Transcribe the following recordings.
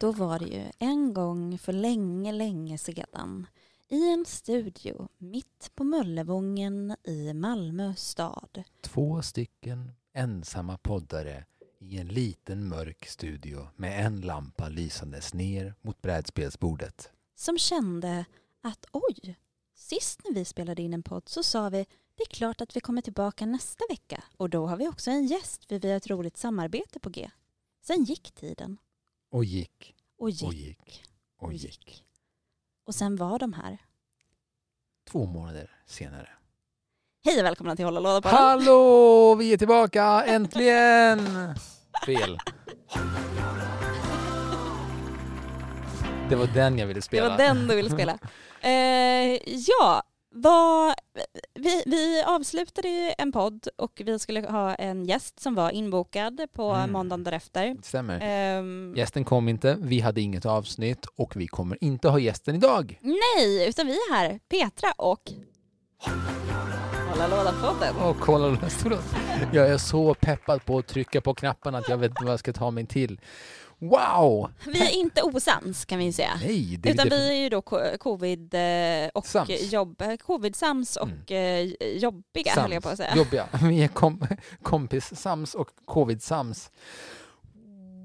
Då var det ju en gång för länge, länge sedan i en studio mitt på Möllevången i Malmö stad. Två stycken ensamma poddare i en liten mörk studio med en lampa lysandes ner mot brädspelsbordet. som kände att oj, sist när vi spelade in en podd så sa vi det är klart att vi kommer tillbaka nästa vecka och då har vi också en gäst för vi har ett roligt samarbete på G. Sen gick tiden Och gick, och gick och och, gick, och gick. och sen var de här. Två månader senare. Hej och välkomna till Hålla låda på Hallå! Vi är tillbaka! Äntligen! Fel. Det var den jag ville Det spela. var den du ville spela. Eh, ja, vad, vi, vi avslutade ju en podd och vi skulle ha en gäst som var inbokad på Mm. måndagen därefter. Det stämmer. Ehm, Gästen kom inte, vi hade inget avsnitt och vi kommer inte ha gästen idag. Nej, utan vi är här, Petra och Hålla lådan-podden. Och kolla den här stora. Jag är så peppad på att trycka på knapparna att jag vet inte vad jag ska ta mig till. Wow! Vi är inte osams kan vi ju säga. Nej, det är Utan definitivt- vi är ju då co- covid eh, och Sams. Mm. jobb, covid-sams och eh, jobbiga höll jag på att säga. Jobbiga. Vi är kom, kompis-sams och covid-sams.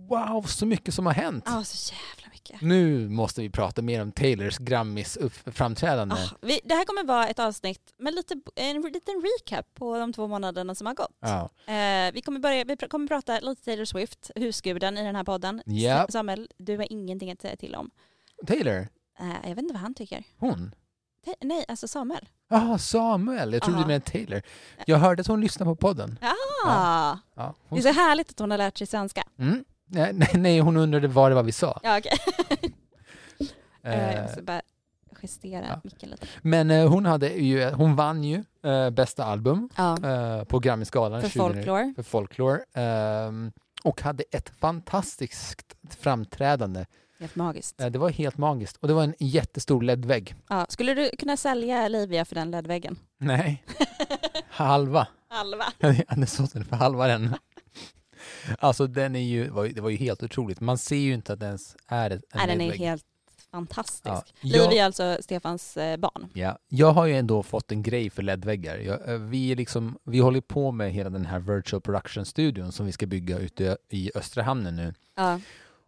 Wow, så mycket som har hänt. Ja, så jävla mycket. Nu måste vi prata mer om Taylors Grammis-framträdande. Ah, vi, det här kommer vara ett avsnitt med lite, en liten recap på de två månaderna som har gått. Ja. Eh, vi, kommer börja, vi pr- kommer prata lite Taylor Swift, husguden i den här podden. Ja. S- Samuel, du har ingenting att säga till om. Taylor, Eh, jag vet inte vad han tycker. hon. Ta- nej, alltså Samuel. Ja, Samuel. Jag trodde Ja. du menade Taylor. Jag hörde att hon lyssnade på podden. Ah. Ja. Ja, Det är hon... så härligt att hon har lärt sig svenska. mm. nej, nej, nej, hon undrade vad det var vi sa. Ja, okej. Eh, jag Eh, måste bara justera ja. micken lite. men eh, hon, hade ju, hon vann ju eh, bästa album Ja, eh, på Grammisgalan för 2000 folklore. för folklore ehm, och hade ett fantastiskt framträdande. Helt magiskt. Eh, Det var helt magiskt och det var en jättestor ledvägg. Ja. Skulle du kunna sälja Livia för den ledväggen? Nej, halva. Halva. Jag hade sålt den för halva den. Alltså den är ju, var ju- det var ju helt otroligt. Man ser ju inte att den ens är en Nej, den är ledvägg. helt fantastisk. Ja. Livia är alltså Stefans eh, barn. Ja, jag har ju ändå fått en grej för LED-väggar. Jag, eh, vi, är liksom, vi håller på med hela den här virtual production-studion som vi ska bygga ute i Östra hamnen nu. Ja.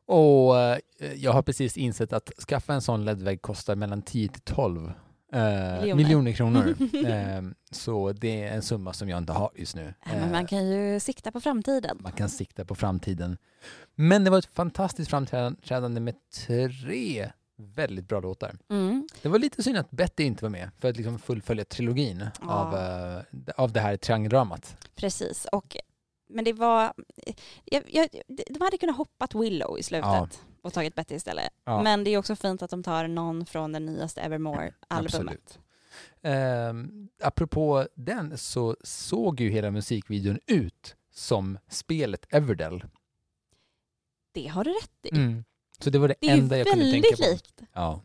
Och eh, jag har precis insett att skaffa en sån LED-vägg kostar mellan 10 till 12 eh, miljoner. kronor. eh, så det är en summa som jag inte har just nu. Ja, Men man Eh, kan ju sikta på framtiden. man kan sikta på framtiden. Men det var ett fantastiskt framträdande med tre väldigt bra låtar. Mm. Det var lite synd att Betty inte var med för att liksom fullfölja trilogin Ja. av, eh, av det här triangeldramat. Precis. Och, men det var... eh, Jag, jag, de hade kunnat hoppat Willow i slutet Ja. och tagit Betty istället. Ja, Men det är också fint att de tar någon från den nyaste Evermore-albumet. absolut. Ehm, apropå den så såg ju hela musikvideon ut som spelet Everdell. Det har du rätt i. Mm. Så det var det, Det är ju enda jag kunde tänka väldigt på. likt. Ah.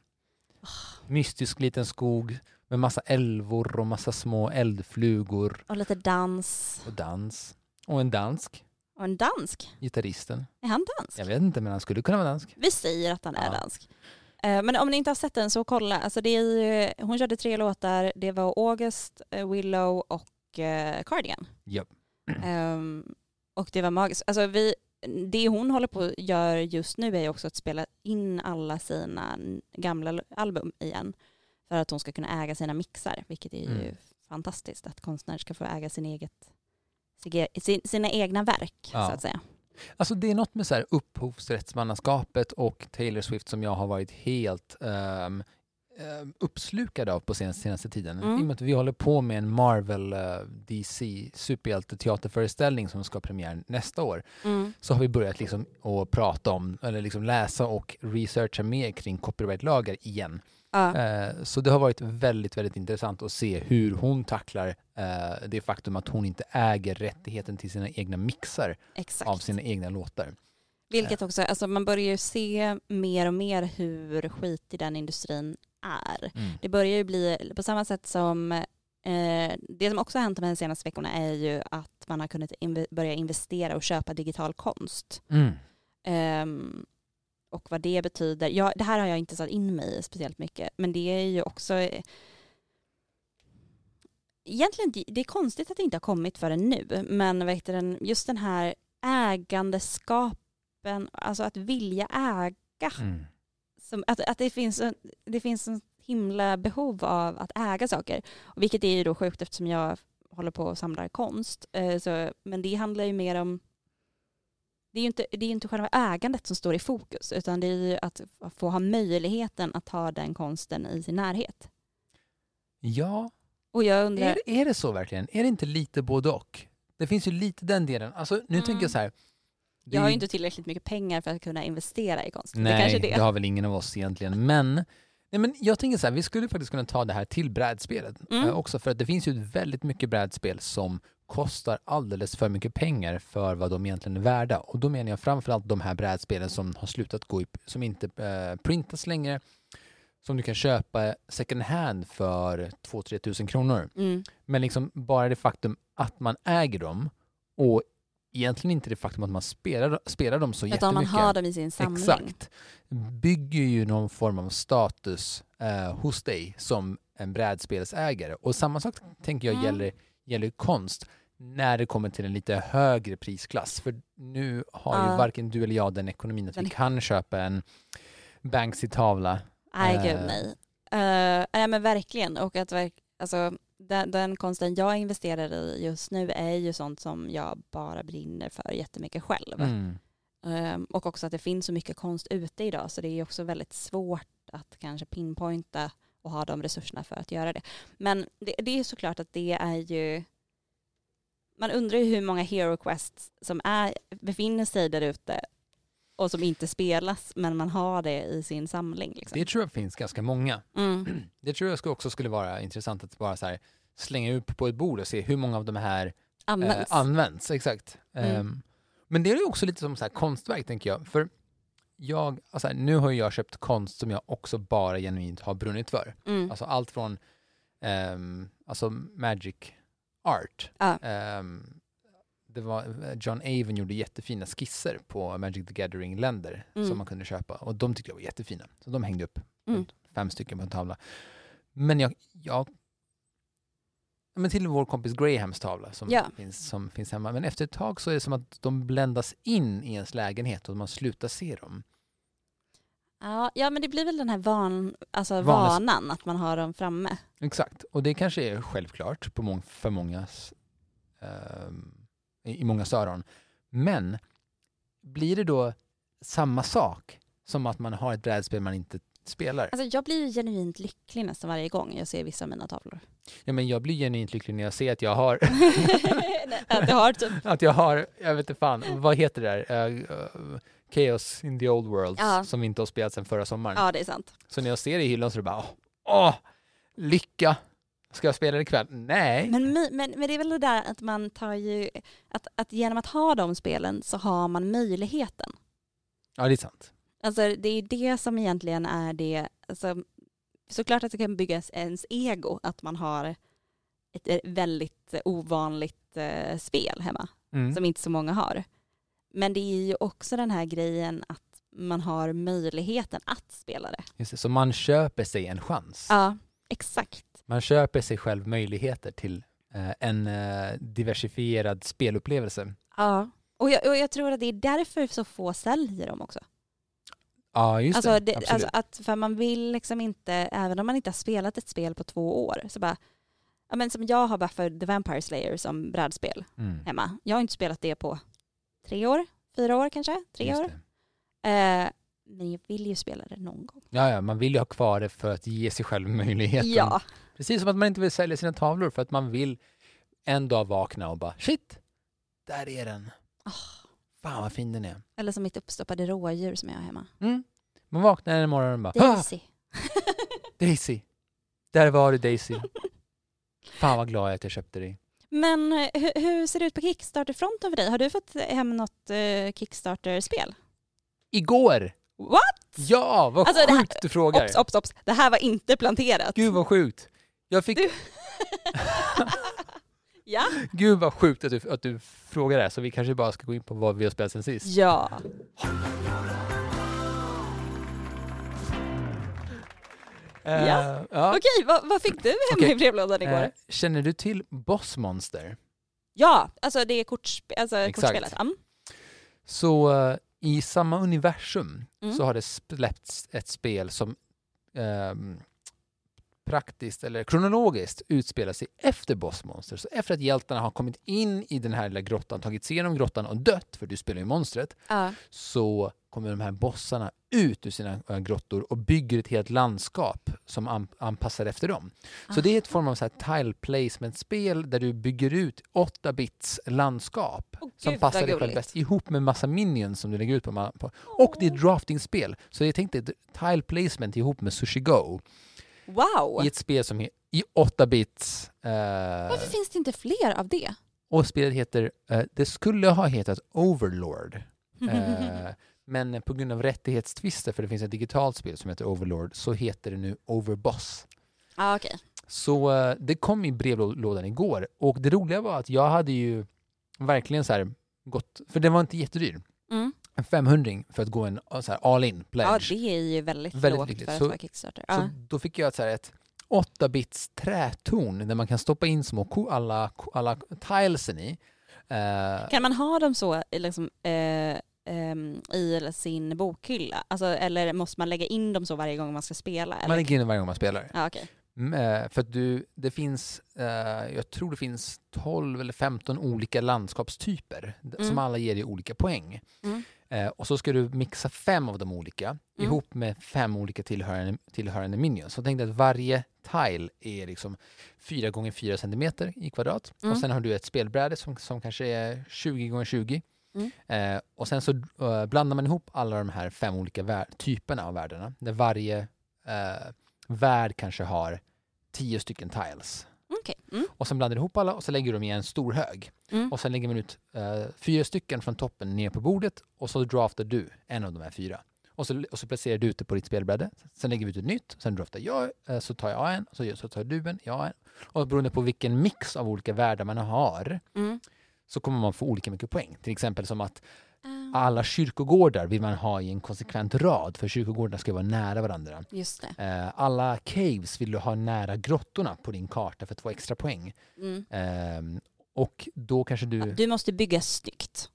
Ja. Mystisk liten skog med massa älvor och massa små eldflugor Och lite dans. och dans. Och en dansk, Och en dansk. gitarristen. Är han dansk? Jag vet inte men han skulle kunna vara dansk. Vi säger att han är Ja. dansk. Eh, Men om ni inte har sett den så kolla. Alltså det är ju, hon körde tre låtar. Det var August, eh, Willow och eh, Cardigan. Japp. Ehm, och det var magiskt. Alltså vi, det hon håller på och gör just nu är ju också att spela in alla sina n- gamla l- album igen. För att hon ska kunna äga sina mixar, vilket är ju Mm. fantastiskt att konstnärer ska få äga sin eget, sin- sina egna verk Ja. så att säga. Alltså det är något med så här upphovsrättsmannaskapet och Taylor Swift som jag har varit helt ehm, eh, uppslukad av på sen, senaste tiden. Mm. I och med att vi håller på med en Marvel eh, DC superhjälteteaterföreställning som ska ha premiär nästa år Mm. så har vi börjat liksom att prata om, eller liksom läsa och researcha mer kring copyrightlagar igen. Ja. Eh, Så det har varit väldigt, väldigt intressant att se hur hon tacklar eh, det faktum att hon inte äger rättigheten till sina egna mixar av Exakt. sina egna låtar. Vilket också, alltså man börjar ju se mer och mer hur skitig den industrin är. Det börjar ju bli, på samma sätt som, eh, det som också har hänt de här senaste veckorna är ju att man har kunnat inve- börja investera och köpa digital konst. Mm. Ehm, och vad det betyder. Jag, det här har jag inte satt in mig i speciellt mycket, men det är ju också eh, Egentligen, inte- det är konstigt att det inte har kommit förrän nu, men vad heter den, just den här ägandeskapen, alltså att vilja äga, Mm. som, att, att det finns en- det finns en himla behov av att äga saker, och vilket är ju då sjukt eftersom jag håller på och samlar konst, eh, så, men det handlar ju mer om det är ju inte, det är ju inte själva ägandet som står i fokus utan det är ju att få ha möjligheten att ha den konsten i sin närhet. Ja, Och jag undrar, är, är det så verkligen? Är det inte lite både och? Det finns ju lite den delen. Alltså, nu Mm. tänker jag så här. det jag är har ju- ju inte tillräckligt mycket pengar för att kunna investera i konst. det Nej, kanske är det. det. har väl ingen av oss egentligen. Men, nej, men jag tänker så här, vi skulle faktiskt kunna ta det här till brädspelet Mm. eh, också. För att det finns ju väldigt mycket brädspel som kostar alldeles för mycket pengar för vad de egentligen är värda. Och då menar jag framförallt de här brädspelen som har slutat gå i, som inte eh, printas längre, som du kan köpa second hand för 2-3 tusen kronor. Mm. Men liksom bara det faktum att man äger dem och egentligen inte det faktum att man spelar, spelar dem så Utan man jättemycket. har dem i sin samling. Exakt. Bygger ju någon form av status eh, hos dig som en brädspelsägare. Och samma sak tänker jag Mm. gäller, gäller konst när det kommer till en lite högre prisklass. För nu har Ja. ju varken du eller jag den ekonomin att Den- vi kan köpa en Banksy-tavla. Nej, Eh. gud nej. Eh, nej men verkligen. Och att verk, alltså, den, den konsten jag investerar i just nu är ju sånt som jag bara brinner för jättemycket själv. Mm. Ehm, Och också att det finns så mycket konst ute idag så det är också väldigt svårt att kanske pinpointa och ha de resurserna för att göra det. Men det, det är såklart att det är ju man undrar ju hur många hero quests som är, befinner sig där ute och som inte spelas men man har det i sin samling. Liksom. Det tror jag finns ganska många. Mm. Det tror jag skulle- också skulle vara intressant att bara så här slänga upp på ett bord och se hur många av de här eh, Används. används. Exakt. Mm. Ehm, men det är ju också lite som så här konstverk, tänker jag. För jag, alltså här, nu har ju jag köpt konst som jag också bara genuint har brunnit för. mm. Alltså allt från ehm, alltså magic art. Ja. Ehm, det var, John Avon gjorde jättefina skisser på Magic the Gathering-länder Mm. som man kunde köpa. Och de tyckte jag var jättefina. Så de hängde upp Mm. fem stycken på en tavla. Men jag... jag men till vår kompis Grahams tavla som, Ja. finns, som finns hemma. Men efter ett tag så är det som att de bländas in i ens lägenhet och man slutar se dem. Ja, ja men det blir väl den här van, alltså Vanes- vanan att man har dem framme. Exakt, och det kanske är självklart på mång- för mångas, ehm, i i mångas öron. Men blir det då samma sak som att man har ett brädspel man inte spelar? Alltså jag blir ju genuint lycklig nästan varje gång jag ser vissa av mina tavlor. Ja, men jag blir genuint lycklig när jag ser att jag har, Nej, att du har typ, att jag har, jag vet inte fan, vad heter det där? Eh, eh, Chaos in the old world Ja. som vi inte har spelat sedan förra sommaren. ja det är sant. Så när jag ser det i hyllan så är det bara, åh, åh lycka! Ska jag spela det ikväll? Nej! Men, my- men, men det är väl det där att man tar ju, att, att genom att ha de spelen så har man möjligheten. Ja, det är sant. Alltså det är ju det som egentligen är det, alltså, såklart att det kan byggas ens ego att man har ett eh, väldigt eh, ovanligt eh, spel hemma Mm. som inte så många har. Men det är ju också den här grejen att man har möjligheten att spela det. Just det, så man köper sig en chans. Ja, exakt. Man köper sig själv möjligheter till eh, en eh, diversifierad spelupplevelse. Ja. Och jag, och jag tror att det är därför så få säljer dem också. Ja, just Alltså, det. det, Absolut. alltså att, för man vill liksom inte, även om man inte har spelat ett spel på två år, så bara, ja men som jag har bara för The Vampire Slayer som brädspel mm. hemma. Jag har inte spelat det på tre år, fyra år kanske, tre just år. det. Eh, Men jag vill ju spela det någon gång. Ja, ja, man vill ju ha kvar det för att ge sig själv möjligheten. Ja, Precis som att man inte vill sälja sina tavlor för att man vill en dag vakna och bara shit, där är den. Fan vad fin den är. eller som mitt uppstoppade rådjur som jag har hemma. Mm. Man vaknar en morgon och bara ah, Daisy. Daisy, där var du Daisy. Fan vad glad jag är att jag köpte dig. Men eh, hur, hur ser det ut på Kickstarter-fronten för dig? Har du fått hem något eh, Kickstarter-spel? Igår! What? Ja, vad Alltså, det här- sjukt du frågar. Ops, ops, ops. Det här var inte planterat. Gud vad sjukt. Jag fick, Du- ja. Gud vad sjukt att du, att du frågar det här, så vi kanske bara ska gå in på vad vi har spelat sen sist. Ja. Eh, Ja. ja. Okej, vad, vad fick du hem Okej. i brevlådan igår? Eh, känner du till Boss Monster? Ja, alltså det är kortspe- alltså Exakt. kortspelet. Mm. Så eh, i samma universum Mm. så har det släppts ett spel som ehm, praktiskt eller kronologiskt utspelar sig efter Boss Monster. Så efter att hjältarna har kommit in i den här lilla grottan, tagit sig igenom grottan och dött, för du spelar ju monstret, Ja. så kommer de här bossarna ut ur sina eh, grottor och bygger ett helt landskap som an- anpassar efter dem. Så det är ett Ah. form av så här tile placement-spel där du bygger ut 8-bits landskap Åh, som gud, passar vad dig själv gulligt. bäst ihop med massa minions som du lägger ut på. ma- på. Och det är ett drafting-spel. Så jag tänkte ett tile placement ihop med Sushi Go Wow! i ett spel som är i 8-bits. eh, Varför finns det inte fler av det? och spelet heter, eh, det skulle ha hetat Overlord. Eh, men på grund av rättighetstvister, för det finns ett digitalt spel som heter Overlord, så heter det nu Overboss. Ja, okej. Så eh, det kom i brevlådan igår och det roliga var att jag hade ju verkligen så här gått, för den var inte jättedyr, Mm. en 500 för att gå en eh, så här all in Ja, pledge. det är ju väldigt, Väldigt lågt lyckligt. för att Så- vara Kickstarter. så Ja. då fick jag ett, så här, ett 8-bits trätorn där man kan stoppa in små ko- alla, alla tilesen i. Eh, Kan man ha dem så i liksom, eh, ehm, i sin bokhylla? Alltså, eller måste man lägga in dem så varje gång man ska spela? Eller? man lägger in den varje gång man spelar. Ja, okej. Mm, eh, För att du, det finns, eh, jag tror det finns 12 eller 15 olika landskapstyper d- Mm. som alla ger dig olika poäng. Mm. Eh, Och så ska du mixa fem av de olika ihop med fem olika tillhörande, tillhörande minions. Så tänk dig att varje tile är liksom 4 gånger 4 centimeter i kvadrat. Mm. Och sen har du ett spelbräde som, som kanske är 20 gånger 20. Mm. Eh, och sen så eh, blandar man ihop alla de här fem olika vär- typerna av världarna. Där varje eh, värld kanske har 10 stycken tiles. Okej. Mm. Och sen blandar du ihop alla och så lägger du dem i en stor hög. Mm. Och sen lägger man ut eh, fyra stycken från toppen ner på bordet och så draftar du en av de här fyra. Och så, och så placerar du ut det på ditt spelbräde. Sen lägger vi ut ett nytt, sen draftar jag, eh, så tar jag en, så, gör- så tar du en, jag en. Och beroende på vilken mix av olika världar man har Mm. så kommer man få olika mycket poäng. Till exempel som att mm. Ah. alla kyrkogårdar vill man ha i en konsekvent rad för kyrkogårdarna ska vara nära varandra. Just det. Eh, alla caves vill du ha nära grottorna på din karta för att få extra poäng. Mm. Ehm, och då kanske du... Du måste bygga snyggt.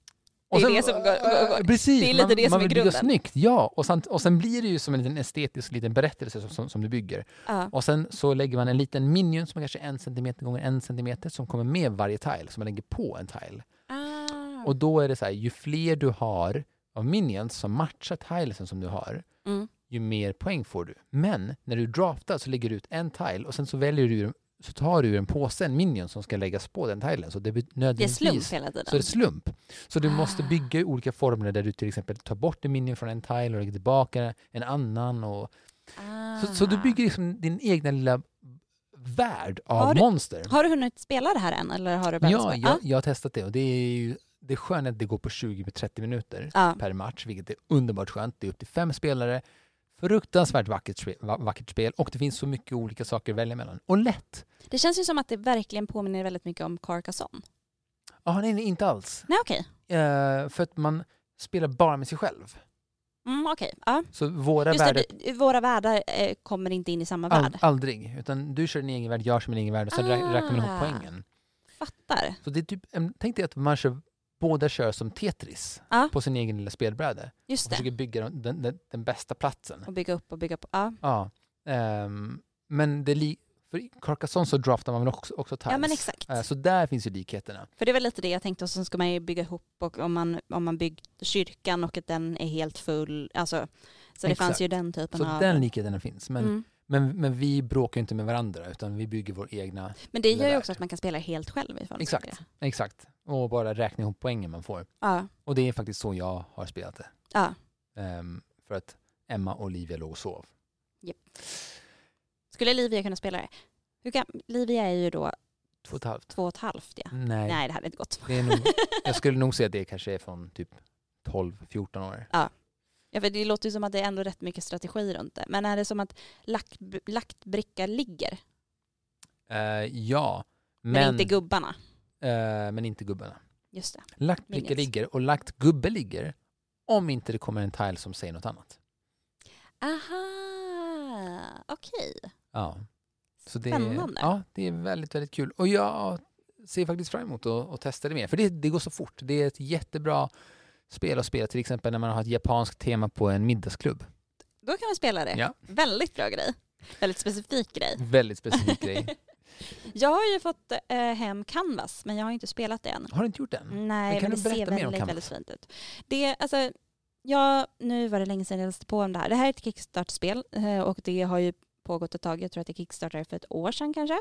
Och Eh, det är det som går- går- går. Precis, Det är lite man, det som man är vill bygga grunden. snyggt. Ja, och sen, och sen blir det ju som en liten estetisk liten berättelse som, som, som du bygger. Ja. Och sen så lägger man en liten minion som är kanske en centimeter gånger en centimeter som kommer med varje tile, som man lägger på en tile. Ah. Och då är det så här, ju fler du har av minions som matchar tilesen som du har, Mm. ju mer poäng får du. Men när du draftar så lägger du ut en tile och sen så väljer du så tar du ur en påse en minion som ska läggas på den tilen. Så det blir Det är nödvändigtvis slump hela så är tiden. det slump. Så du måste Ah. bygga olika former där du till exempel tar bort en minion från en tile och lägger tillbaka en annan. Och, Ah. så, så du bygger liksom din egna lilla värld av Har du- monster. Har du hunnit spela det här än? Eller har du Ah. bara Ja, spelat- jag, jag har testat det och det är ju det är skönt att det går på 20-30 minuter Ja. per match, vilket är underbart skönt. Det är upp till fem spelare. Fruktansvärt vackert, spe- va- vackert spel och det finns så mycket olika saker att välja mellan. Och lätt! Det känns ju som att det verkligen påminner väldigt mycket om Carcassonne. Ja, nej, nej, inte alls. Nej, okej. Eh, för att man spelar bara med sig själv. Mm, okej. Ja. Så våra Just världar det, du- våra världar eh, kommer inte in i samma Ald- värld. aldrig. Utan du kör din egen värld, jag kör min egen värld och sen rä- räknar man Ah. ihop poängen. Fattar. Så det är typ, en- tänk dig att man kör, båda kör som Tetris Ja. på sin egen lilla spelbräde Ah. Just och det. försöker bygga den, den, den, den bästa platsen. Och bygga upp och bygga på. Ja, Ja. Ehm, men det li- för i Carcassonne så draftar man väl också, också tiles? ja men exakt. Eh, Så där finns ju likheterna. För det var lite det jag tänkte och sen ska man ju bygga ihop och om man, om man byggt kyrkan och att den är helt full, alltså Så det fanns Exakt. ju den typen Så av... den likheten finns. Men, mm. men, men vi bråkar ju inte med varandra utan vi bygger vår egna. men det gör ju värld. också att man kan spela helt själv ifall man Exakt. tycker det. Exakt. Och bara räkna ihop poängen man får. Ja, Och det är faktiskt så jag har spelat det. ja. Ehm, för att Emma och Olivia låg och sov. Skulle Livia kunna spela det? Hur kan... Livia är ju då Två och ett halvt. två och ett halvt ja. Nej. Nej, det hade inte gått. Det är nog, jag skulle nog säga att det kanske är från typ 12-14 år. Ja, för det låter ju som att det är ändå rätt mycket strategi runt det. Men är det som att lack, lackbricka ligger? Eh, ja, men, Men, inte gubbarna? eh, men inte gubbarna. Just det. Lagt bricka Minions. ligger och lagt gubbe ligger om inte det kommer en tile som säger något annat. Aha, okej. Ja. Så det, Spännande. Ja, det är väldigt, väldigt kul. Och jag ser faktiskt fram emot att, att testa det mer, för det, det går så fort. Det är ett jättebra spel att spela, till exempel när man har ett japanskt tema på en middagsklubb. Då kan vi spela det. Ja. Väldigt bra grej. Väldigt specifik grej. Väldigt specifik grej. Jag har ju fått eh, hem Canvas, men jag har inte spelat det än. Har du inte gjort den? Nej, Mm. Men kan men du det ser berätta mer om väldigt, Canvas? väldigt fint ut. Det, alltså, ja, nu var det länge sedan jag läste på om det här. Det här är ett Kickstart-spel eh, och det har ju pågått ett tag. Jag tror att det kickstartade för ett år sedan kanske.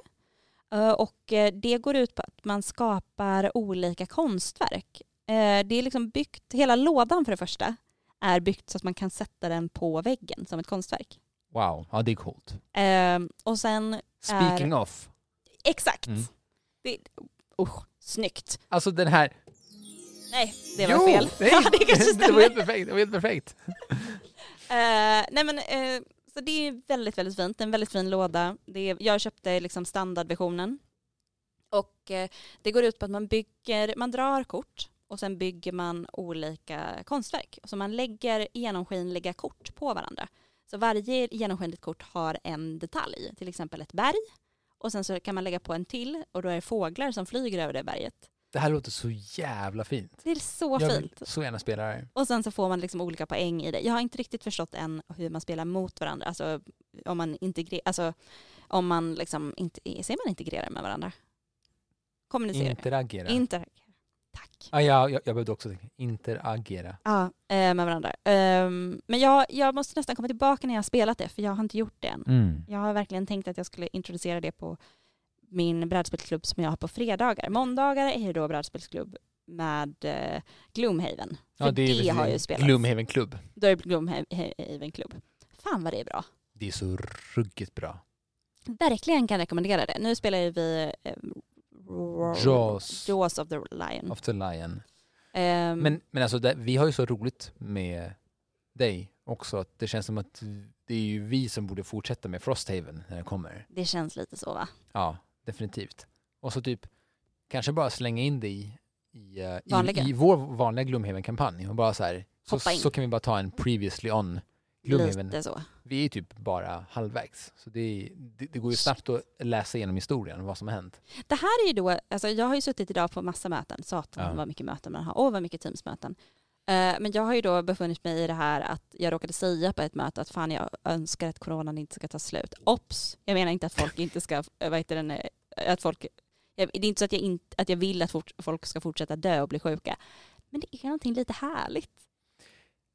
Eh, Och eh, det går ut på att man skapar olika konstverk. Eh, Det är liksom byggt, hela lådan för det första är byggt så att man kan sätta den på väggen som ett konstverk. Wow, ja det är coolt. Eh, Och sen, Speaking of, exakt! Mm. Det, usch, snyggt! alltså den här Nej, det var fel. Nej, Ja, det kanske var stämmer. helt perfekt. Det var helt perfekt. Eh, nej men, eh, så det är väldigt, väldigt fint. En väldigt fin låda. Det är, jag köpte liksom standardversionen. Och eh, det går ut på att man bygger, man drar kort och sen bygger man olika konstverk. Så man lägger genomskinliga kort på varandra. Så varje genomskinligt kort har en detalj, till exempel ett berg. Och sen så kan man lägga på en till och då är det fåglar som flyger över det berget. Det här låter så jävla fint. Det är så jag fint. vill så gärna spela det här. Och sen så får man liksom olika poäng i det. Jag har inte riktigt förstått än hur man spelar mot varandra. Alltså om man integrerar, alltså om man liksom inte, ser man integrerar med varandra? Kommunicerar. Interagera. Inter- Tack. ah, ja, jag, jag behövde också tänka. Interagera. Ja, eh, med varandra. Ehm, men jag, jag måste nästan komma tillbaka när jag har spelat det, för jag har inte gjort det än. Mm. Jag har verkligen tänkt att jag skulle introducera det på min brädspelsklubb som jag har på fredagar. Måndagar är ju då brädspelsklubb med eh, Gloomhaven. För Ja, det, är väl har ju spelats. Gloomhaven Club. Då är Gloomhaven klubb. Fan vad det är bra. Det är så ruggigt bra. Verkligen kan rekommendera det. Nu spelar ju vi eh, Jaws. Jaws of the Lion. Of the Lion. Ehm, Men, men alltså, det, vi har ju så roligt med dig också. Att det känns som att det är ju vi som borde fortsätta med Frosthaven när den kommer. det känns lite så va? Ja, definitivt. Och så typ kanske bara slänga in det i, i, eh, i, Vanliga. i vår vanliga Gloomhaven-kampanj. Och bara så här, så, Hoppa in. så kan vi bara ta en previously on Gloomhaven. Lite så. Vi är typ bara halvvägs. Så det, det, det går ju snabbt att läsa igenom historien, vad som har hänt. Det här är ju då, alltså jag har ju suttit idag på massa möten, satan Ja. vad mycket möten man har, och vad mycket teamsmöten. Eh, men jag har ju då befunnit mig i det här att jag råkade säga på ett möte att fan jag önskar att coronan inte ska ta slut. Ops, jag menar inte att folk inte ska, eh, vad heter den, eh, att folk, jag, det är inte så att jag, inte, att jag vill att fort, folk ska fortsätta dö och bli sjuka. Men det är någonting lite härligt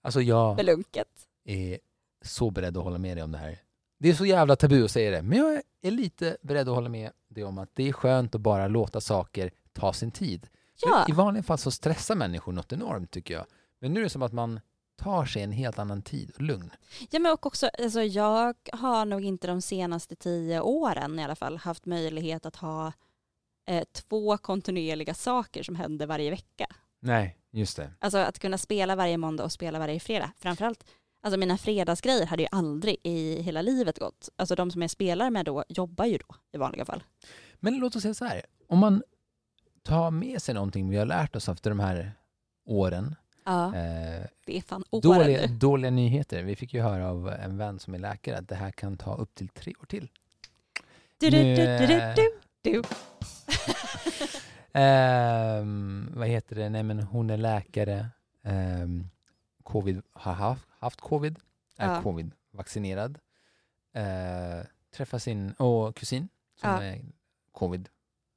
Alltså jag med lunket. är så beredd att hålla med dig om det här. Det är så jävla tabu att säga det, men jag är lite beredd att hålla med dig om att det är skönt att bara låta saker ta sin tid. Men Ja, I vanliga fall så stressar människor något enormt tycker jag. Men nu är det som att man tar sig en helt annan tid och lugn. ja men och också, alltså jag har nog inte de senaste tio åren i alla fall haft möjlighet att ha eh, två kontinuerliga saker som händer varje vecka. Nej, just det. Alltså att kunna spela varje måndag och spela varje fredag. Framförallt, alltså mina fredagsgrejer hade ju aldrig i hela livet gått. Alltså de som jag spelar med då jobbar ju då i vanliga fall. Men låt oss säga så här, om man tar med sig någonting vi har lärt oss efter de här åren. Ja, Eh, det är fan åren nu. dåliga, dåliga nyheter. Vi fick ju höra av en vän som är läkare att det här kan ta upp till tre år till. Du, du, du, du, du, du. Ehm, vad heter det? Nej, men hon är läkare. Ehm, covid, har haft, haft covid. Är Ja. covid vaccinerad. Eh, träffar sin och kusin som Ja. är covid.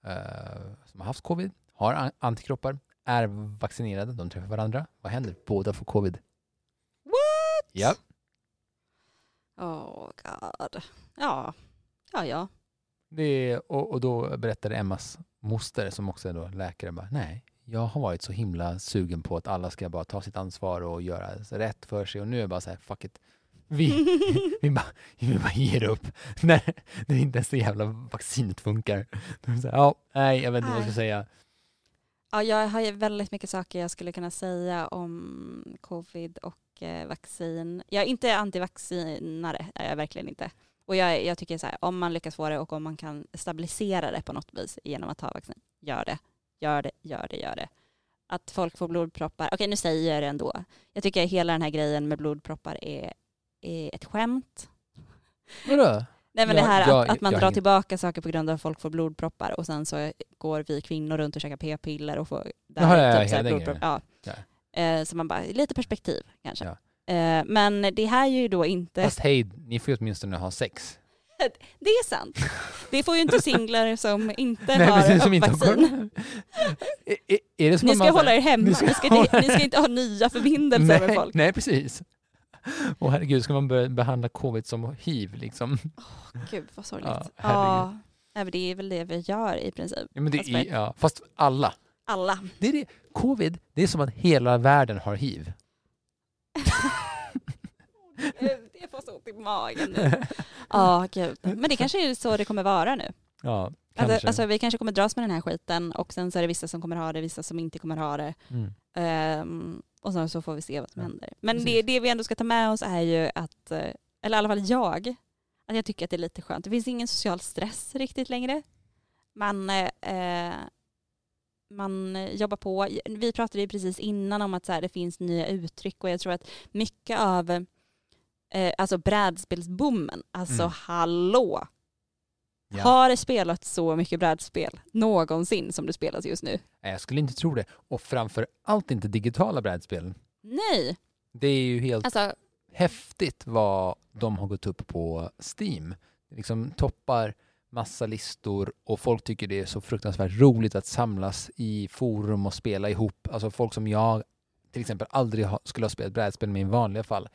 eh, som har haft covid. Har an- antikroppar. Är vaccinerade. De träffar varandra. Vad händer? Båda får covid. What? Ja. Oh god. Ja, ja, ja. Det är, och, och då berättade Emmas moster, som också är då läkare, bara, nej, jag har varit så himla sugen på att alla ska bara ta sitt ansvar och göra rätt för sig och nu är jag bara så här, fuck it. Vi, vi, bara, vi bara ger upp när, när inte ens det jävla vaccinet funkar. Då är det så här, ja, nej, jag vet inte vad jag ska Nej. säga. ja, jag har ju väldigt mycket saker jag skulle kunna säga om covid och eh, vaccin. Jag är inte antivaccinare, är jag verkligen inte. Och jag, jag tycker så här, om man lyckas få det och om man kan stabilisera det på något vis genom att ta vaccin, gör det. Gör det, gör det, gör det. Att folk får blodproppar, okej nu säger jag det ändå. Jag tycker hela den här grejen med blodproppar är, är ett skämt. Vadå? Nej men det Ja, här jag- att, att man jag drar häng- tillbaka saker på grund av att folk får blodproppar och sen så går vi kvinnor runt och käkar p-piller och får där Jaha, ja, ja, så här hela den blodpropp- ja. Eh, Så man bara, lite perspektiv kanske. Ja. Eh, Men det här är ju då inte, Fast hej, ni får ju åtminstone ha sex. det är sant. Det får ju inte singlar som inte Nej, har precis, som inte har vaccin. corona. Är- är- är det som Ni att man ska så här- hålla er hemma, Ni ni ska ska, hålla- inte, ni ska inte ha nya förbindelser med folk. nej, precis. Och herregud, ska man börja behandla covid som hiv liksom? Gud vad sorgligt. Ja, Ja, herregud. Nej, men det är väl det vi gör i princip. Ja, men det är, Aspekt. ja, fast alla. Alla. Det är det. Covid, det är som att hela världen har hiv. Gud, det får så ont i magen nu. Ja, gud. Men det kanske är så det kommer vara nu. ja, kanske. Alltså, alltså, vi kanske kommer dras med den här skiten och sen så är det vissa som kommer ha det, vissa som inte kommer ha det. mm. Ehm, och sen så får vi se vad som Ja, händer. Men det, precis. det vi ändå ska ta med oss är ju att, eh, eller i alla fall jag, att jag tycker att det är lite skönt. Det finns ingen social stress riktigt längre. Man, eh, eh, man jobbar på. Vi pratade ju precis innan om att så här, det finns nya uttryck och jag tror att mycket av eh, alltså brädspelsboomen, alltså Mm. hallå, ja. har det spelats så mycket brädspel någonsin som det spelas just nu? Nej, Jag skulle inte tro det. Och framför allt inte digitala brädspel. Nej, Det är ju helt alltså häftigt vad de har gått upp på Steam. Det liksom toppar massa listor och folk tycker det är så fruktansvärt roligt att samlas i forum och spela ihop. Alltså folk som jag till exempel aldrig ha, skulle ha spelat brädspel med i vanliga fall.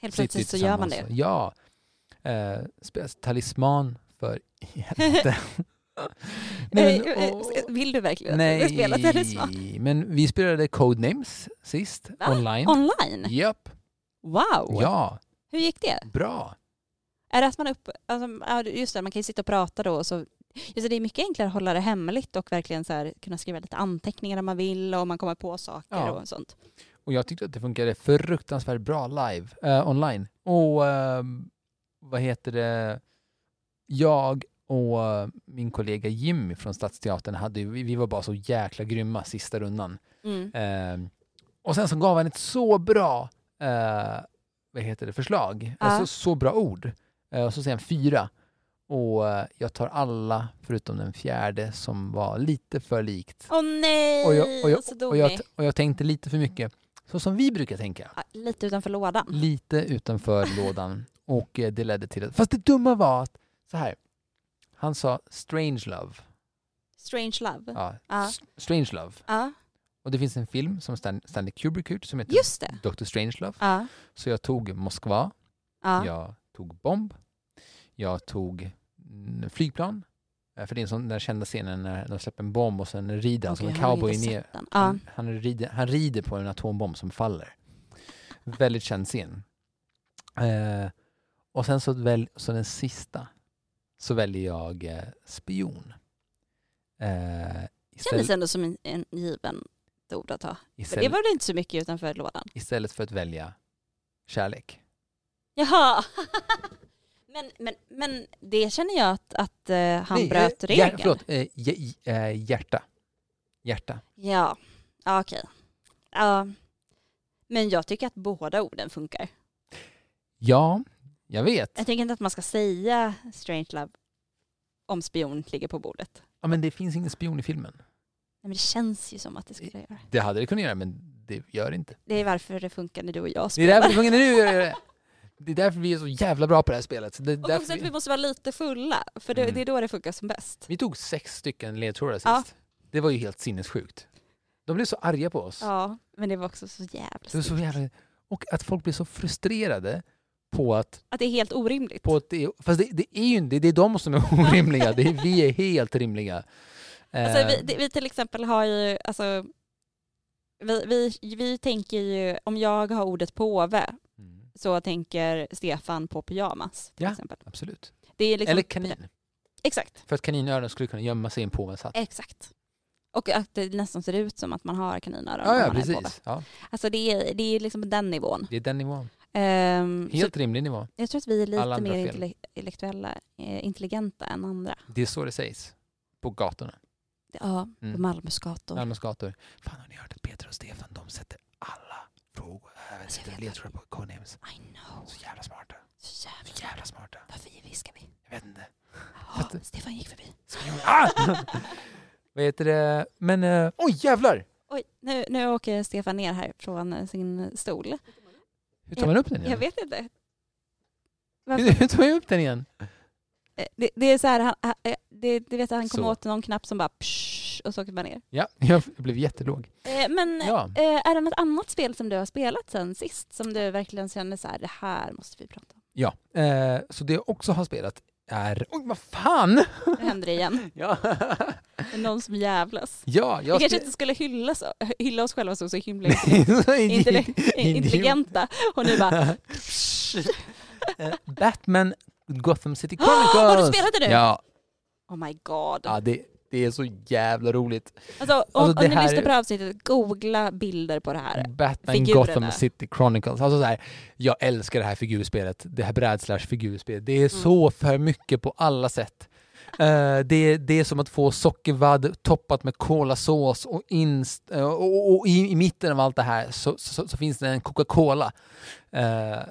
helt sitter ju plötsligt så gör man det. tillsammans och- Ja. Eh, spelas talisman för i helvete. Nej, men- Eh, eh, och- ska- Vill du verkligen att jag ska spela talisman? Nej, men vi spelade Codenames sist Va? online. Online? Japp, Wow! ja, Hur gick det? bra. Är det att man upp... Alltså, ja, just det, man kan ju sitta och prata då. och Så, just det, det är mycket enklare att hålla det hemligt och verkligen så här, kunna skriva lite anteckningar om man vill och om man kommer på saker Ja. och sånt. Och jag tyckte att det funkade fruktansvärt bra live, eh, online. Och eh, vad heter det, jag och eh, min kollega Jimmy från Stadsteatern, hade, ju- vi, vi var bara så jäkla grymma sista rundan. Mm. Eh, och sen så gav han ett så bra eh, vad heter det, förslag, Ja. alltså, så bra ord. Eh, och så säger han fyra. Och eh, jag tar alla förutom den fjärde som var lite för likt. Åh nej, Och jag- och jag- så dum Och jag, och jag tänkte lite för mycket, så som vi brukar tänka ja, Lite utanför lådan. lite utanför lådan och eh, det ledde till att, fast det dumma var att, så här, han sa strange love. Strange love. Ja, Ja. s- strange love. Ja, Och det finns en film som Stan- Stanley Kubrick gjort som heter just det. Dr. Strangelove. Ja, Så jag tog Moskva, ja. jag tog bomb, jag tog mm, flygplan. Eh, För det är en sån där kända scenen när de släpper en bomb och sen rider han Okej, som en Mm. jag har cowboy inte ner. sett den. Ja. Han, han, rider, han rider på en atombomb som faller. Väldigt känd scen. Eh, och sen så, väl, så den sista så väljer jag eh, spion. Eh, Kändes istället, ändå som en, en given ord att ta. För det istället, var väl inte så mycket utanför lådan? istället för att välja kärlek. Jaha. Men, men, men det känner jag att, att eh, han Nej, bröt eh, regeln. hjär- förlåt, eh, hj- eh, hjärta. Hjärta. Ja, ja okej. Ja. Men jag tycker att båda orden funkar. Ja, jag vet. Jag tänker inte att man ska säga strange love om spion ligger på bordet. Ja, men det finns ingen spion i filmen. Nej, men det känns ju som att det skulle göra. Det hade det kunnat göra, men det gör det inte. Det är varför det funkar när du och jag Det är därför spelar. vi sjunger nu. Det är därför vi är så jävla bra på det här spelet. Det är Och också därför att vi vi, måste vara lite fulla, för det, Mm. det är då det funkar som bäst. vi tog sex stycken ledtrådar sist. Ja. Det var ju helt sinnessjukt. De blev så arga på oss. Ja, men det var också så jävla Det var så snyggt. jävla... Och att folk blev så frustrerade på att, Att det är helt orimligt. på att det, fast det, det är ju inte, det är de som är orimliga, det är, vi är helt rimliga. Eh, Alltså, vi, det- vi till exempel har ju, alltså, vi, vi, vi tänker ju, om jag har ordet påve mm, så tänker Stefan på pyjamas till Ja. exempel. Absolut. Det är liksom, Eller kanin, Exakt, för att kaninöron skulle kunna gömma sig i en påvens hatt. exakt. Och att det nästan ser ut som att man har kaninöron Ja, om ja, man är påve. precis. Ja, Alltså det är, det är liksom den nivån. det är den nivån. Ehm, Helt rimlig nivå. så jag tror att vi är alla lite andra mer fel. intelle- intellektuella, eh, intelligenta än andra. Det är så det sägs på gatorna. Ja, Mm. på Malmös gator. Malmös gator. Fan har ni hört att Peter och Stefan de sätter alla frågor, äh, sätter Alltså, vet ledtrådar på codenames. I know. Så jävla smarta. Så jävla... Så jävla smarta. Varför viskar vi? Jag vet inte. Ja, Stefan gick förbi. Ah! Vad heter det? Men eh, oj jävlar! Oj, nu, nu åker Stefan ner här från eh, sin stol. Hur tar man upp den Jag igen? vet inte. Hur hur tar man upp den igen? Eh, Det, det är så här, han, han- eh, det, det vet jag, han kom Så. åt någon knapp som bara psh, och så åker man ner. Ja, jag blev jättelåg. Eh, Men Ja. eh, är det något annat spel som du har spelat sen sist som du verkligen känner så här, det här måste vi prata om. ja. Eh, så det jag också har spelat är... Oj, vad fan! Nu händer det igen. Ja, Det är någon som jävlas. ja Vi jag... kanske spe- inte skulle hylla, så, hylla oss själva som så himla Intellekt. intelle- intelligenta och nu bara Eh, Batman Gotham City "Åh, Chronicles! Har du spelat det nu? Ja, Oh my god. ja det, det är så jävla roligt. Alltså, om, Alltså, det om ni här- Mm. lyssnar på det här avsnittet, googla bilder på det här. Batman Figurerna. Gotham City Chronicles. Alltså så här, jag älskar det här figurspelet. Det här bräd-slash-figurspelet. Mm. Det är så för mycket på alla sätt. Eh, det, det är som att få sockervadd toppat med kolasås och, inst, eh, och, och i, i mitten av allt det här så, så, så finns det en Coca-Cola. Eh,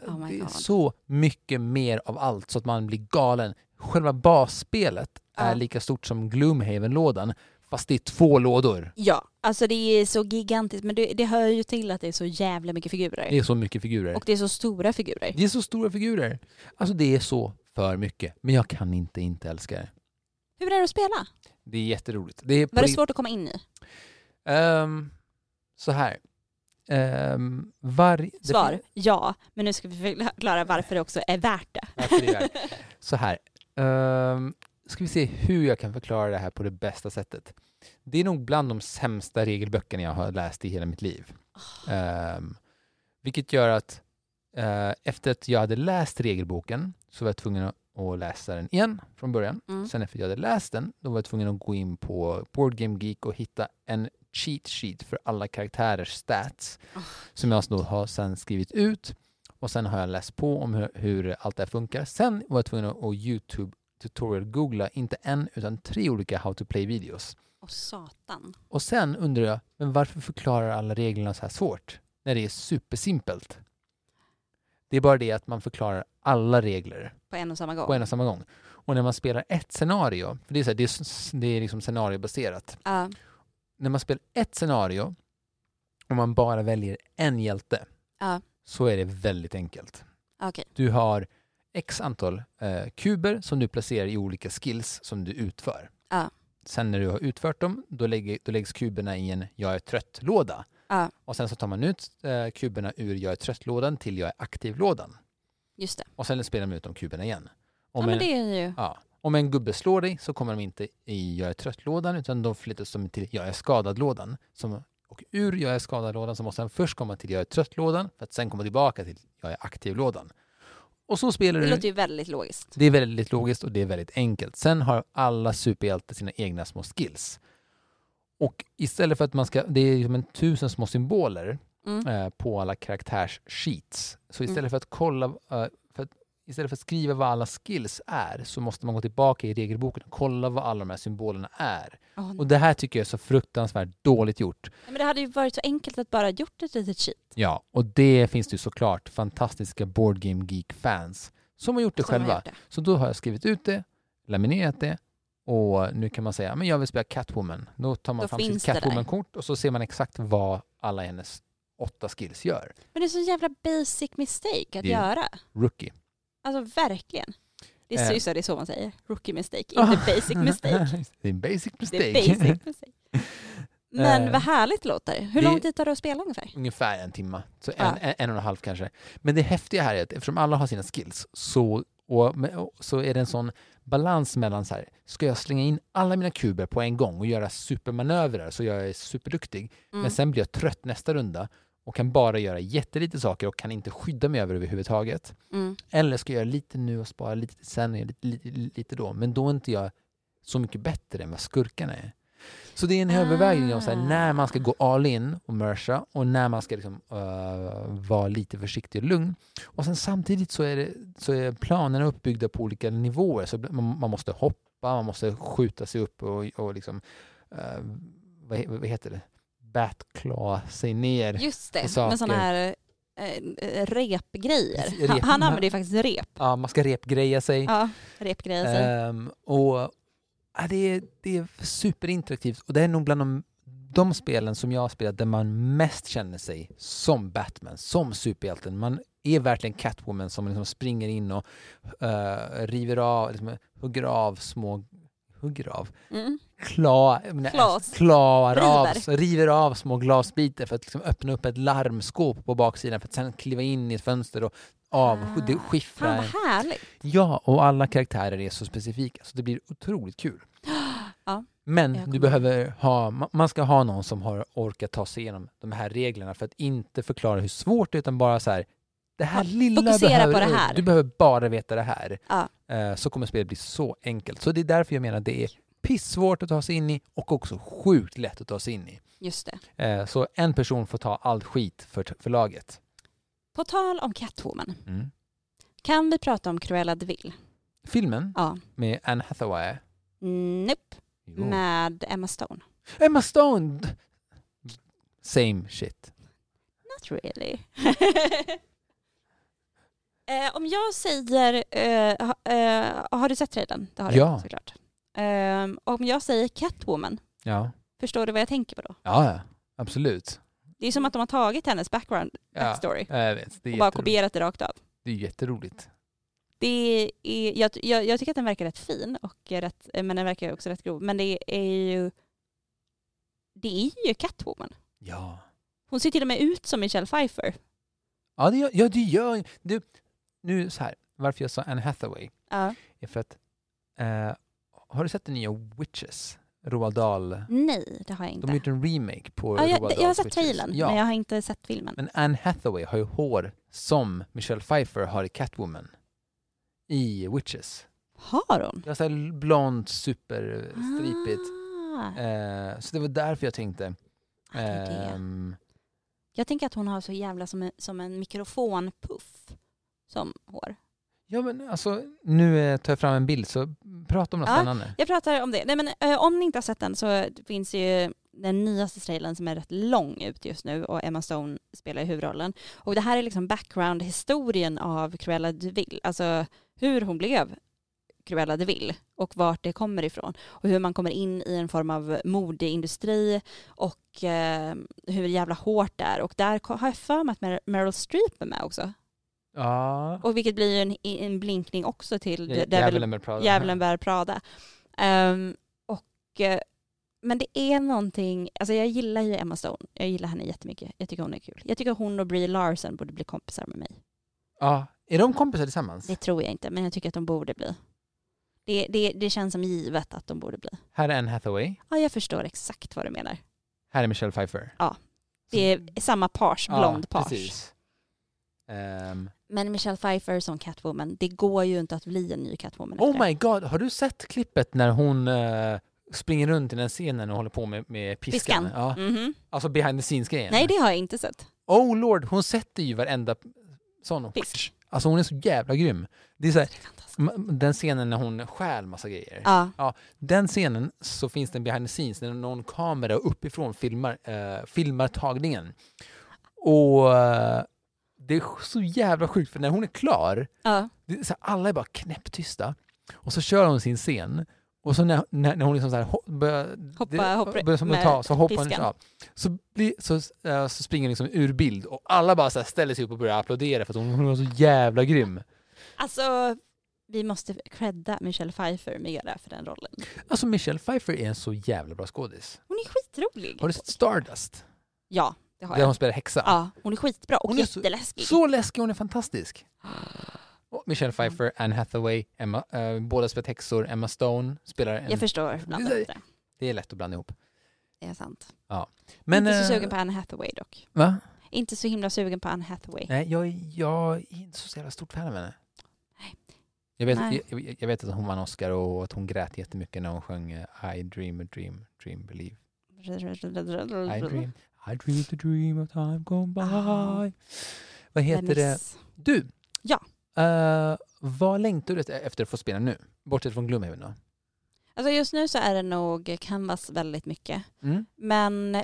Oh my det är God. så mycket mer av allt så att man blir galen. Själva basspelet är Ja. lika stort som Gloomhaven-lådan fast det är två lådor. Ja, alltså det är så gigantiskt men det, det hör ju till att det är så jävla mycket figurer. Det är så mycket figurer. Och det är så stora figurer. Det är så stora figurer. Alltså det är så för mycket. Men jag kan inte inte älska det. Hur är det att spela? Det är jätteroligt. Det är på Var det ri- svårt att komma in i? Ehm, så här. Um, var... Svar, ja. Men nu ska vi förklara varför det också är värt det. Varför det är. Så här. Um, ska vi se hur jag kan förklara det här på det bästa sättet. Det är nog bland de sämsta regelböckerna jag har läst i hela mitt liv. Ehm, vilket gör att eh, efter att jag hade läst regelboken så var jag tvungen att- att läsa den igen från början. Mm. Sen efter jag hade läst den, då var jag tvungen att gå in på Board Game Geek och hitta en cheat sheet för alla karaktärers stats Ah. som jag då har sen skrivit ut och sen har jag läst på om hur, hur allt det här funkar. Sen var jag tvungen att att YouTube tutorial googla inte en utan tre olika how to play videos. Och satan. Och sen undrar jag, men varför förklarar alla reglerna så här svårt när det är supersimpelt? Det är bara det att man förklarar alla regler På en och samma gång. på en och samma gång. Och när man spelar ett scenario, för det är, så här, det är, s- det är liksom scenariobaserat. Ja. När man spelar ett scenario och man bara väljer en hjälte Ja. så är det väldigt enkelt. Okej. Du har x antal eh, kuber som du placerar i olika skills som du utför. Ja. Sen när du har utfört dem, då, lägger, då läggs kuberna i en jag är trött-låda. Ja, Och sen så tar man ut eh, kuberna ur jag är trött-lådan till jag är aktiv-lådan. just det. Och sen spelar man ut de kuberna igen. Ja, Om en- men det är ju... Ja. Om en gubbe slår dig så kommer de inte i jag är trött-lådan utan de flyttas de till jag är skadad-lådan. Som- Och ur jag är skadad-lådan så måste han först komma till jag är trött-lådan för att sen komma tillbaka till jag är aktiv-lådan. Och så spelar Det du. låter ju väldigt logiskt. Det är väldigt logiskt och det är väldigt enkelt. Sen har alla superhjältar sina egna små skills. Och istället för att man ska, det är liksom en tusen små symboler Mm. eh, på alla karaktärs-sheets. Så istället Mm. för att kolla, eh, för att, istället för att skriva vad alla skills är så måste man gå tillbaka i regelboken och kolla vad alla de här symbolerna är. Åh, Och det här tycker jag är så fruktansvärt dåligt gjort. nej. Men det hade ju varit så enkelt att bara gjort ett litet cheat. Ja, och det finns det ju såklart fantastiska Board Game Geek-fans som har gjort det som de har själva. gjort det. Så då har jag skrivit ut det, laminerat det och nu kan man säga men jag vill spela Catwoman. Då tar man Då fram sitt finns det där. Catwoman-kort och så ser man exakt vad alla hennes åtta skills gör. Men det är så jävla basic mistake att Det- göra. Rookie. Alltså verkligen. Det Eh. är, äh. det är så man Ah. säger. Rookie mistake, inte basic mistake. det är en basic Det är mistake. basic mistake. Men Eh, vad härligt låter. Hur det- lång tid tar det att spela ungefär? Ungefär en timme, så en, Ja. en, en och en halv kanske. Men det häftiga här är att eftersom alla har sina skills så, och, men- och- så är det en sån balans mellan så här, ska jag slänga in alla mina kuber på en gång och göra supermanövrar så jag är superduktig, Mm, men sen blir jag trött nästa runda och kan bara göra jättelite saker och kan inte skydda mig över överhuvudtaget. Mm. Eller ska jag göra lite nu och spara lite till sen, och lite, lite, lite då, men då är inte jag så mycket bättre än vad skurkarna är. Så det är en Ah. övervägning om så här, när man ska gå all in och mersa och när man ska liksom, eh, vara lite försiktig och lugn. Och sen samtidigt så är, det, så är planerna uppbyggda på olika nivåer. Så man, man måste hoppa, man måste skjuta sig upp och, och liksom, eh, vad, he- vad heter det? Batkla sig ner. Just och det, saker. med sådana här eh, repgrejer. Rep- Han, han använder ju faktiskt rep. Ja, Mm. man ska repgreja sig. Ja, repgrejer. sig. Ehm, och ja, det, är, det är superinteraktivt och det är nog bland de, de spelen som jag har spelat där man mest känner sig som Batman, som superhjälten. Man är verkligen Catwoman som liksom springer in och eh, river av, liksom, hugger av små, hugger av, Mm. kla, jag menar, Glas. klarar River. av, river av små glasbitar för att liksom öppna upp ett larmskåp på baksidan för att sen kliva in i ett fönster och Ah. avskiffra Fan en vad härligt. Ja, och alla karaktärer är så specifika så det blir otroligt kul. Ja, jag Men kommer- du behöver ha, ma- man ska ha någon som har orkat ta sig igenom de här reglerna för att inte förklara hur svårt det är utan bara så här, det här lilla fokusera behöver, på det här. du behöver bara veta det här. Ja. Eh, Så kommer spelet bli så enkelt. Så det är därför jag menar att det är pissvårt att ta sig in i och också sjukt lätt att ta sig in i. Just det. Eh, Så en person får ta all skit för, för laget. På tal om Catwoman, Mm. kan vi prata om Cruella de Vil? Filmen Ja. med Anne Hathaway. Nope. Jo. Med Emma Stone. Emma Stone! Same shit. Not really. eh, om jag säger, eh, ha, eh, har du sett trailern? Det har Ja. du såklart. Eh, om jag säger Catwoman, Ja, förstår du vad jag tänker på då? ja, ja. absolut. Det är som att de har tagit hennes background, Ja. backstory Ja, Jag vet, det är, och bara jätteroligt. kopierat det rakt av. det är jätteroligt. Det är, jag, jag, jag tycker att den verkar rätt fin, och är rätt, eh, men den verkar också rätt grov. Men det är ju, det är ju Catwoman. Ja, Hon ser till och med ut som Michelle Pfeiffer. ja det gör, ja, det gör du, Nu så här, varför jag sa Anne Hathaway Ja. är för att eh, har du sett den nya Witches? Roald Dahl. Nej, det har jag inte. De har gjort en remake på Ja, Roald jag, Dahls jag har sett Witches. trailern, Ja. men jag har inte sett filmen. Men Anne Hathaway har ju hår som Michelle Pfeiffer har i Catwoman i Witches. Har hon? Jag säger blont, superstripigt. Ah, Eh, så det var därför jag tänkte. det är det. ehm, Jag tänker att hon har så jävla som en, som en mikrofonpuff som hår. ja men alltså, nu eh, tar jag fram en bild så prata om något Ja. spännande. Jag pratar om det. Nej, men, eh, om ni inte har sett den så finns ju den nyaste trailern som är rätt lång ut just nu och Emma Stone spelar ju huvudrollen. Och det här är liksom background-historien av Cruella de Vil, alltså hur hon blev Cruella de Vil och vart det kommer ifrån och hur man kommer in i en form av modeindustri och eh, hur jävla hårt det är och där ko- har jag för mig att Mer- Meryl Streep är med också Ja. och vilket blir ju en, en blinkning också till Ja, Devil Djävulen med Prada. Djävulen bär Prada. Ehm, och, eh, men det är någonting, alltså jag gillar ju Emma Stone, jag gillar henne jättemycket, jag tycker hon är kul. Jag tycker hon och Brie Larson borde bli kompisar med mig. Ja. Är de kompisar tillsammans? Det tror jag inte, men jag tycker att de borde bli. Det, det, det känns som givet att de borde bli. Här är Anne Hathaway, Ja, jag förstår exakt vad du menar. här är Michelle Pfeiffer. Ja. Det är samma pars, blond Mm. ja, pars. precis. Ehm, Men Michelle Pfeiffer som Catwoman, det går ju inte att bli en ny Catwoman. efter oh det. my god, har du sett klippet när hon eh, springer runt i den scenen och håller på med, med piskan? Piskan. Ja. Mhm. Alltså behind the scenes-grejen. Nej, det har jag inte sett. Oh lord, hon sätter ju varenda sån. Fisk. Alltså hon är så jävla grym. Det är så här, Fantastiskt. Ma- Den scenen när hon stjäl massa grejer. Ja, Den scenen så finns det en behind the scenes när någon kamera uppifrån filmar, eh, filmar tagningen. Och eh, det är så jävla sjukt för när hon är klar, ja. det är så här, alla är bara knäpptysta. Och så kör hon sin scen. Och så när, när, när hon liksom så här, ho- börjar, Hoppa- det- hoppar- börjar som att med ta, så hoppar hon liksom piskan. av. Så, blir, så, eh, så springer hon liksom ur bild och alla bara så här ställer sig upp och börjar applådera för att hon, hon var så jävla grym. Alltså, vi måste credda Michelle Pfeiffer mer för den rollen. Alltså Michelle Pfeiffer är en så jävla bra skådis. Hon är skit skitrolig. Har du sett Stardust? Ja, det har Där jag. hon spelar häxa. Ja, hon är skitbra och Hon är så- jätteläskig. Så läskig, hon är fantastisk. Och Michelle Pfeiffer, Anne Hathaway, Emma, eh, båda spelat häxor, Emma Stone spelar en... Jag förstår ibland Det är- inte. Det är lätt att blanda ihop. Det är sant. Men, inte så eh, sugen på Anne Hathaway dock. Va? Inte så himla sugen på Anne Hathaway. Nej, jag, jag är inte så jävla stort fan av henne. Nej. Jag vet, Nej. Jag, jag vet att hon vann Oscar och att hon grät jättemycket när hon sjöng eh, I dream a dream, dream believe. I dream, I dream the dream of time gone by. Ah. Vad Nej, heter det? miss. Du! Ja. Eh, vad längtar du efter att få spela nu? Bortsett från Gloomhaven då? Alltså just nu så är det nog Canvas väldigt mycket. Mm. Men eh,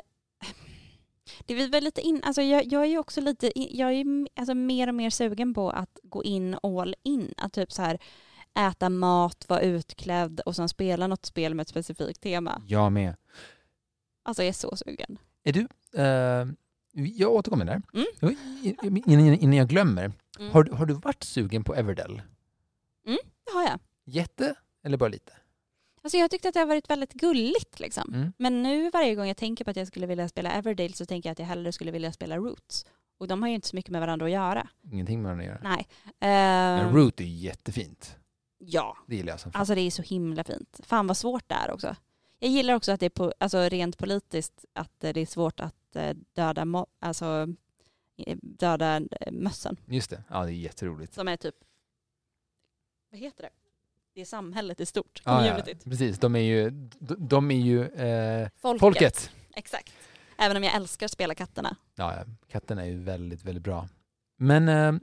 det är väl lite in, alltså jag, jag är ju också lite, in- jag är m- alltså mer och mer sugen på att gå in all in. Att typ så här äta mat, vara utklädd och sen spela något spel med ett specifikt tema. Jag med. Alltså jag är så sugen. Är du, eh, jag återkommer där. Mm. Jag- in- Innan, innan jag glömmer, Mm. har, du- har du varit sugen på Everdell? Det har jag. Jätte eller bara lite? Alltså jag tyckte att det har varit väldigt gulligt liksom. Mm. Men nu varje gång jag tänker på att jag skulle vilja spela Everdale så tänker jag att jag hellre skulle vilja spela Roots. Och de har ju inte så mycket med varandra att göra. Ingenting med den att göra. Nej. Men Ehm, Root är ju jättefint. Ja, Det gillar jag som fan. alltså det är så himla fint. Fan vad svårt det är också. Jag gillar också att det är på, alltså rent politiskt att eh, det är svårt att eh, döda, mo- alltså, eh, döda eh, mössen. Just det, ja det är jätteroligt. Som är typ, vad heter det? Det är samhället i stort, Ah, Ja, ja, communityt. precis, de är ju, de, de är ju eh, Folket. folket. Exakt. Även om jag älskar att spela katterna. Ja, ja, katten är ju väldigt, väldigt bra. Men, eh,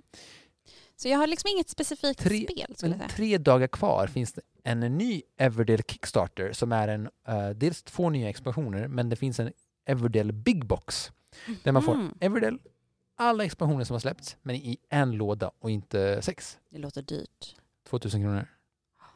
Så jag har liksom inget specifikt Tre- spel skulle jag men säga. tre dagar kvar finns det en ny Everdell Kickstarter som är en, eh, dels två nya expansioner, men det finns en Everdell Big Box. där man får- Mhm. Everdell, alla expansioner som har släppts, men i en låda och inte sex. Det låter dyrt. 2000 kronor.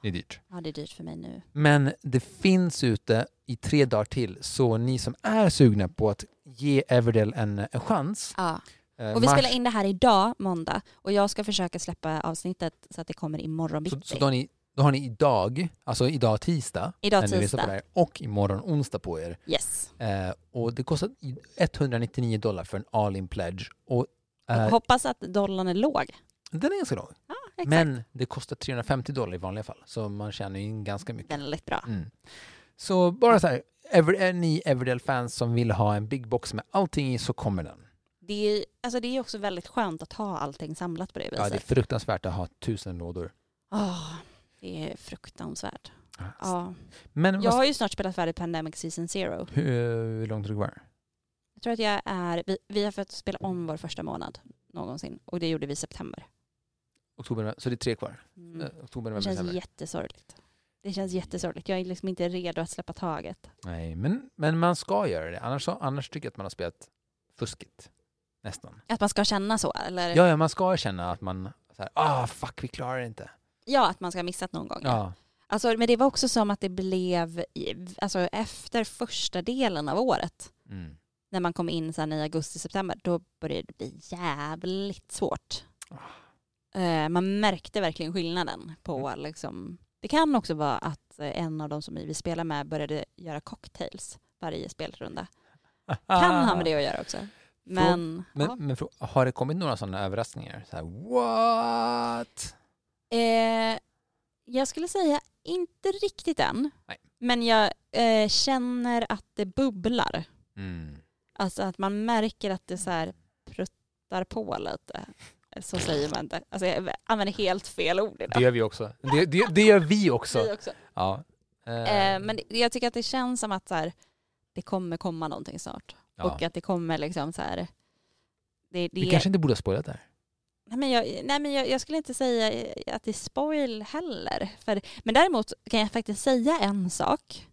Det är dyrt. Ja, det är dyrt för mig nu. Men det finns ute i tre dagar till, så ni som är sugna på att ge Everdell en, en chans. Ja. eh, Och vi mars- spelar in det här idag, måndag. Och jag ska försöka släppa avsnittet så att det kommer imorgon så, bitti. så då, har ni, då har ni idag, alltså idag tisdag, Idag när ni lyssnar på det tisdag. här, och imorgon onsdag på er. Yes. Eh, och det kostar 199 dollar för en all-in pledge. Och, eh, Och hoppas att dollarn är låg. den är ganska låg. Exakt. Men det kostar 350 dollar i vanliga fall, så man tjänar ju in ganska mycket. Väldigt bra. Mm. Så bara så här, ever, är ni Everdell-fans som vill ha en big box med allting i så kommer den. Det är, alltså det är också väldigt skönt att ha allting samlat på det viset. Ja, det är fruktansvärt att ha tusen lådor. Åh, det är fruktansvärt. Ja. Men Jag vad, har ju snart spelat färdigt Pandemic Season Zero. hur, hur långt är det kvar? Jag tror att jag är, vi, vi har fått spela om vår första månad någonsin och det gjorde vi i september. Oktober, så det är tre kvar? Mm. Eh, Oktober, Det november, känns december? jättesorgligt. Det känns jättesorgligt. Jag är liksom inte redo att släppa taget. Nej, men, men man ska göra det. Annars, så, annars tycker jag att man har spelat fuskigt. Nästan. Att man ska känna så eller? Ja, ja, man ska känna att man, så här, ah fuck, vi klarar det inte. Ja, att man ska ha missat någon gång. Ja, Alltså, men det var också som att det blev i- alltså, efter första delen av året. mm. När man kom in så här, i augusti, september. Då började det bli jävligt svårt. Eh, man märkte verkligen skillnaden på Mm. liksom. Det kan också vara att eh, en av de som vi spelar med började göra cocktails varje spelrunda. Kan ha med det att göra också. Men, Ah. Men, ja. men frå- har det kommit några sådana överraskningar? Så här, what? Eh, jag skulle säga inte riktigt än. Nej. Men jag eh, känner att det bubblar. Mm. Alltså att man märker att det så här pruttar på lite. Så säger man inte. Alltså jag använder helt fel ord Det idag. gör vi också. Det, det, det gör vi också. Vi också. Ja. Eh, Eh, men det- jag tycker att det känns som att så här, det kommer komma någonting snart. ja. Och att det kommer liksom så här. Det, det, Vi kanske inte borde ha spoilat där. Nej men, jag, nej, men jag, jag skulle inte säga att det är spoil heller. För, men däremot kan jag faktiskt säga en sak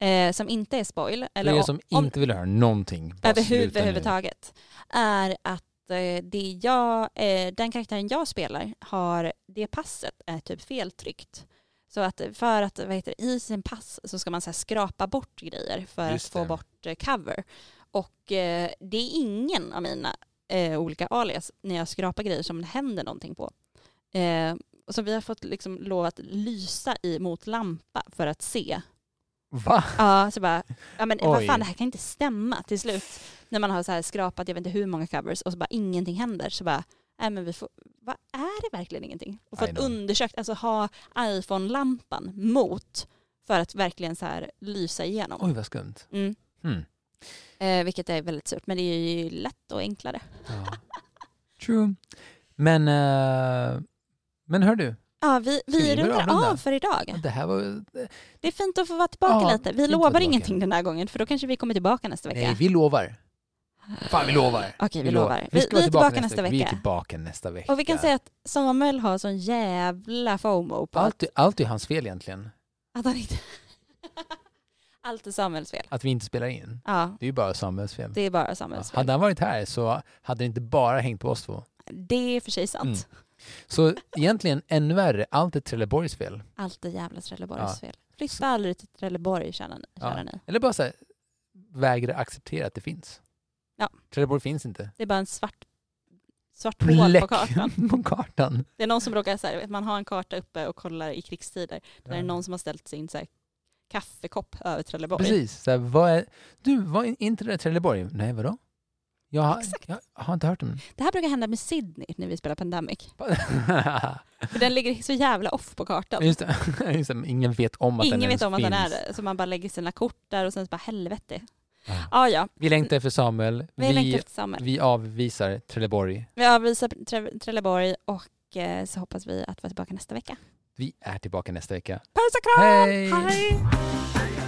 eh, som inte är spoil, eller Eller För er om, som om- inte vill höra någonting. bara överhu- sluta nu. överhuvudtaget, är att eh, det jag, eh, den karaktären jag spelar har, det passet är typ feltryckt. Så att för att, vad heter det, i sin pass så ska man så här skrapa bort grejer för Just att få det. bort eh, cover. Och eh, det är ingen av mina eh, olika alias när jag skrapar grejer som det händer någonting på. Eh, och så vi har fått liksom lov att lysa i mot lampa för att se Va? Ja, så bara, ja men vad Oj. fan det här kan inte stämma till slut. När man har så här skrapat, jag vet inte hur många covers och så bara ingenting händer. Så bara, nej men vi får, vad är det verkligen ingenting? Och I fått know. undersökt, alltså ha iPhone-lampan mot för att verkligen så här lysa igenom. Oj, vad skumt. Mm. Mm. Eh, vilket är väldigt surt, men det är ju lätt och enklare. Ja. True. Men, eh, men hör du, Ja, vi, Ska vi vi börja rundar avrunda? av för idag. det här var... Det är fint att få vara tillbaka Ja, lite. fint Vi att vara lovar tillbaka. ingenting den här gången, för då kanske vi kommer tillbaka nästa vecka. Nej, vi lovar. Fan, vi lovar. Okej, vi lovar. Vi, vi ska är vara tillbaka nästa Vi vecka. är tillbaka nästa vecka. Och vi kan säga att Samuel har sån jävla FOMO på allt, är- allt är hans fel egentligen, att han inte... Allt är Samuels fel. att vi inte spelar in. Ja, Det är ju bara Samuels fel. det är bara Ja, Samuels fel. hade han varit här så hade det inte bara hängt på oss två. Det är för sig sant. Mm. Så egentligen ännu värre, allt är Trelleborgs fel. Allt är jävla Trelleborgs Ja. fel. Flytta aldrig till Trelleborg, kära Ja. ja. ni. Eller bara så här, vägra acceptera att det finns. Ja. Trelleborg finns inte. Det är bara en svart, svart hål Bläck på kartan. på kartan. Det är någon som råkar så här, man har en karta uppe och kollar i krigstider. Där är det någon som har ställt sin så här, kaffekopp över Trelleborg. Precis. Så här, vad är, du, var inte det där Trelleborg? Nej, vadå? Jag, har- Exakt. jag har inte hört om Det här brukar hända med Sydney när vi spelar Pandemic. det. För den ligger så jävla off på kartan. Just det. Just det. Ingen vet om att den Ingen vet ens om att finns. den är det. Så man bara lägger sina kort där och sen så bara helvete. Ja. Ja, ja. Vi längtar efter Samuel. Vi, längtar Vi, efter Samuel. vi avvisar Trelleborg. Vi avvisar Tre- Trelleborg och eh, så hoppas vi att vara tillbaka nästa vecka. Vi är tillbaka nästa vecka. Puss och kram! Hej! Hej!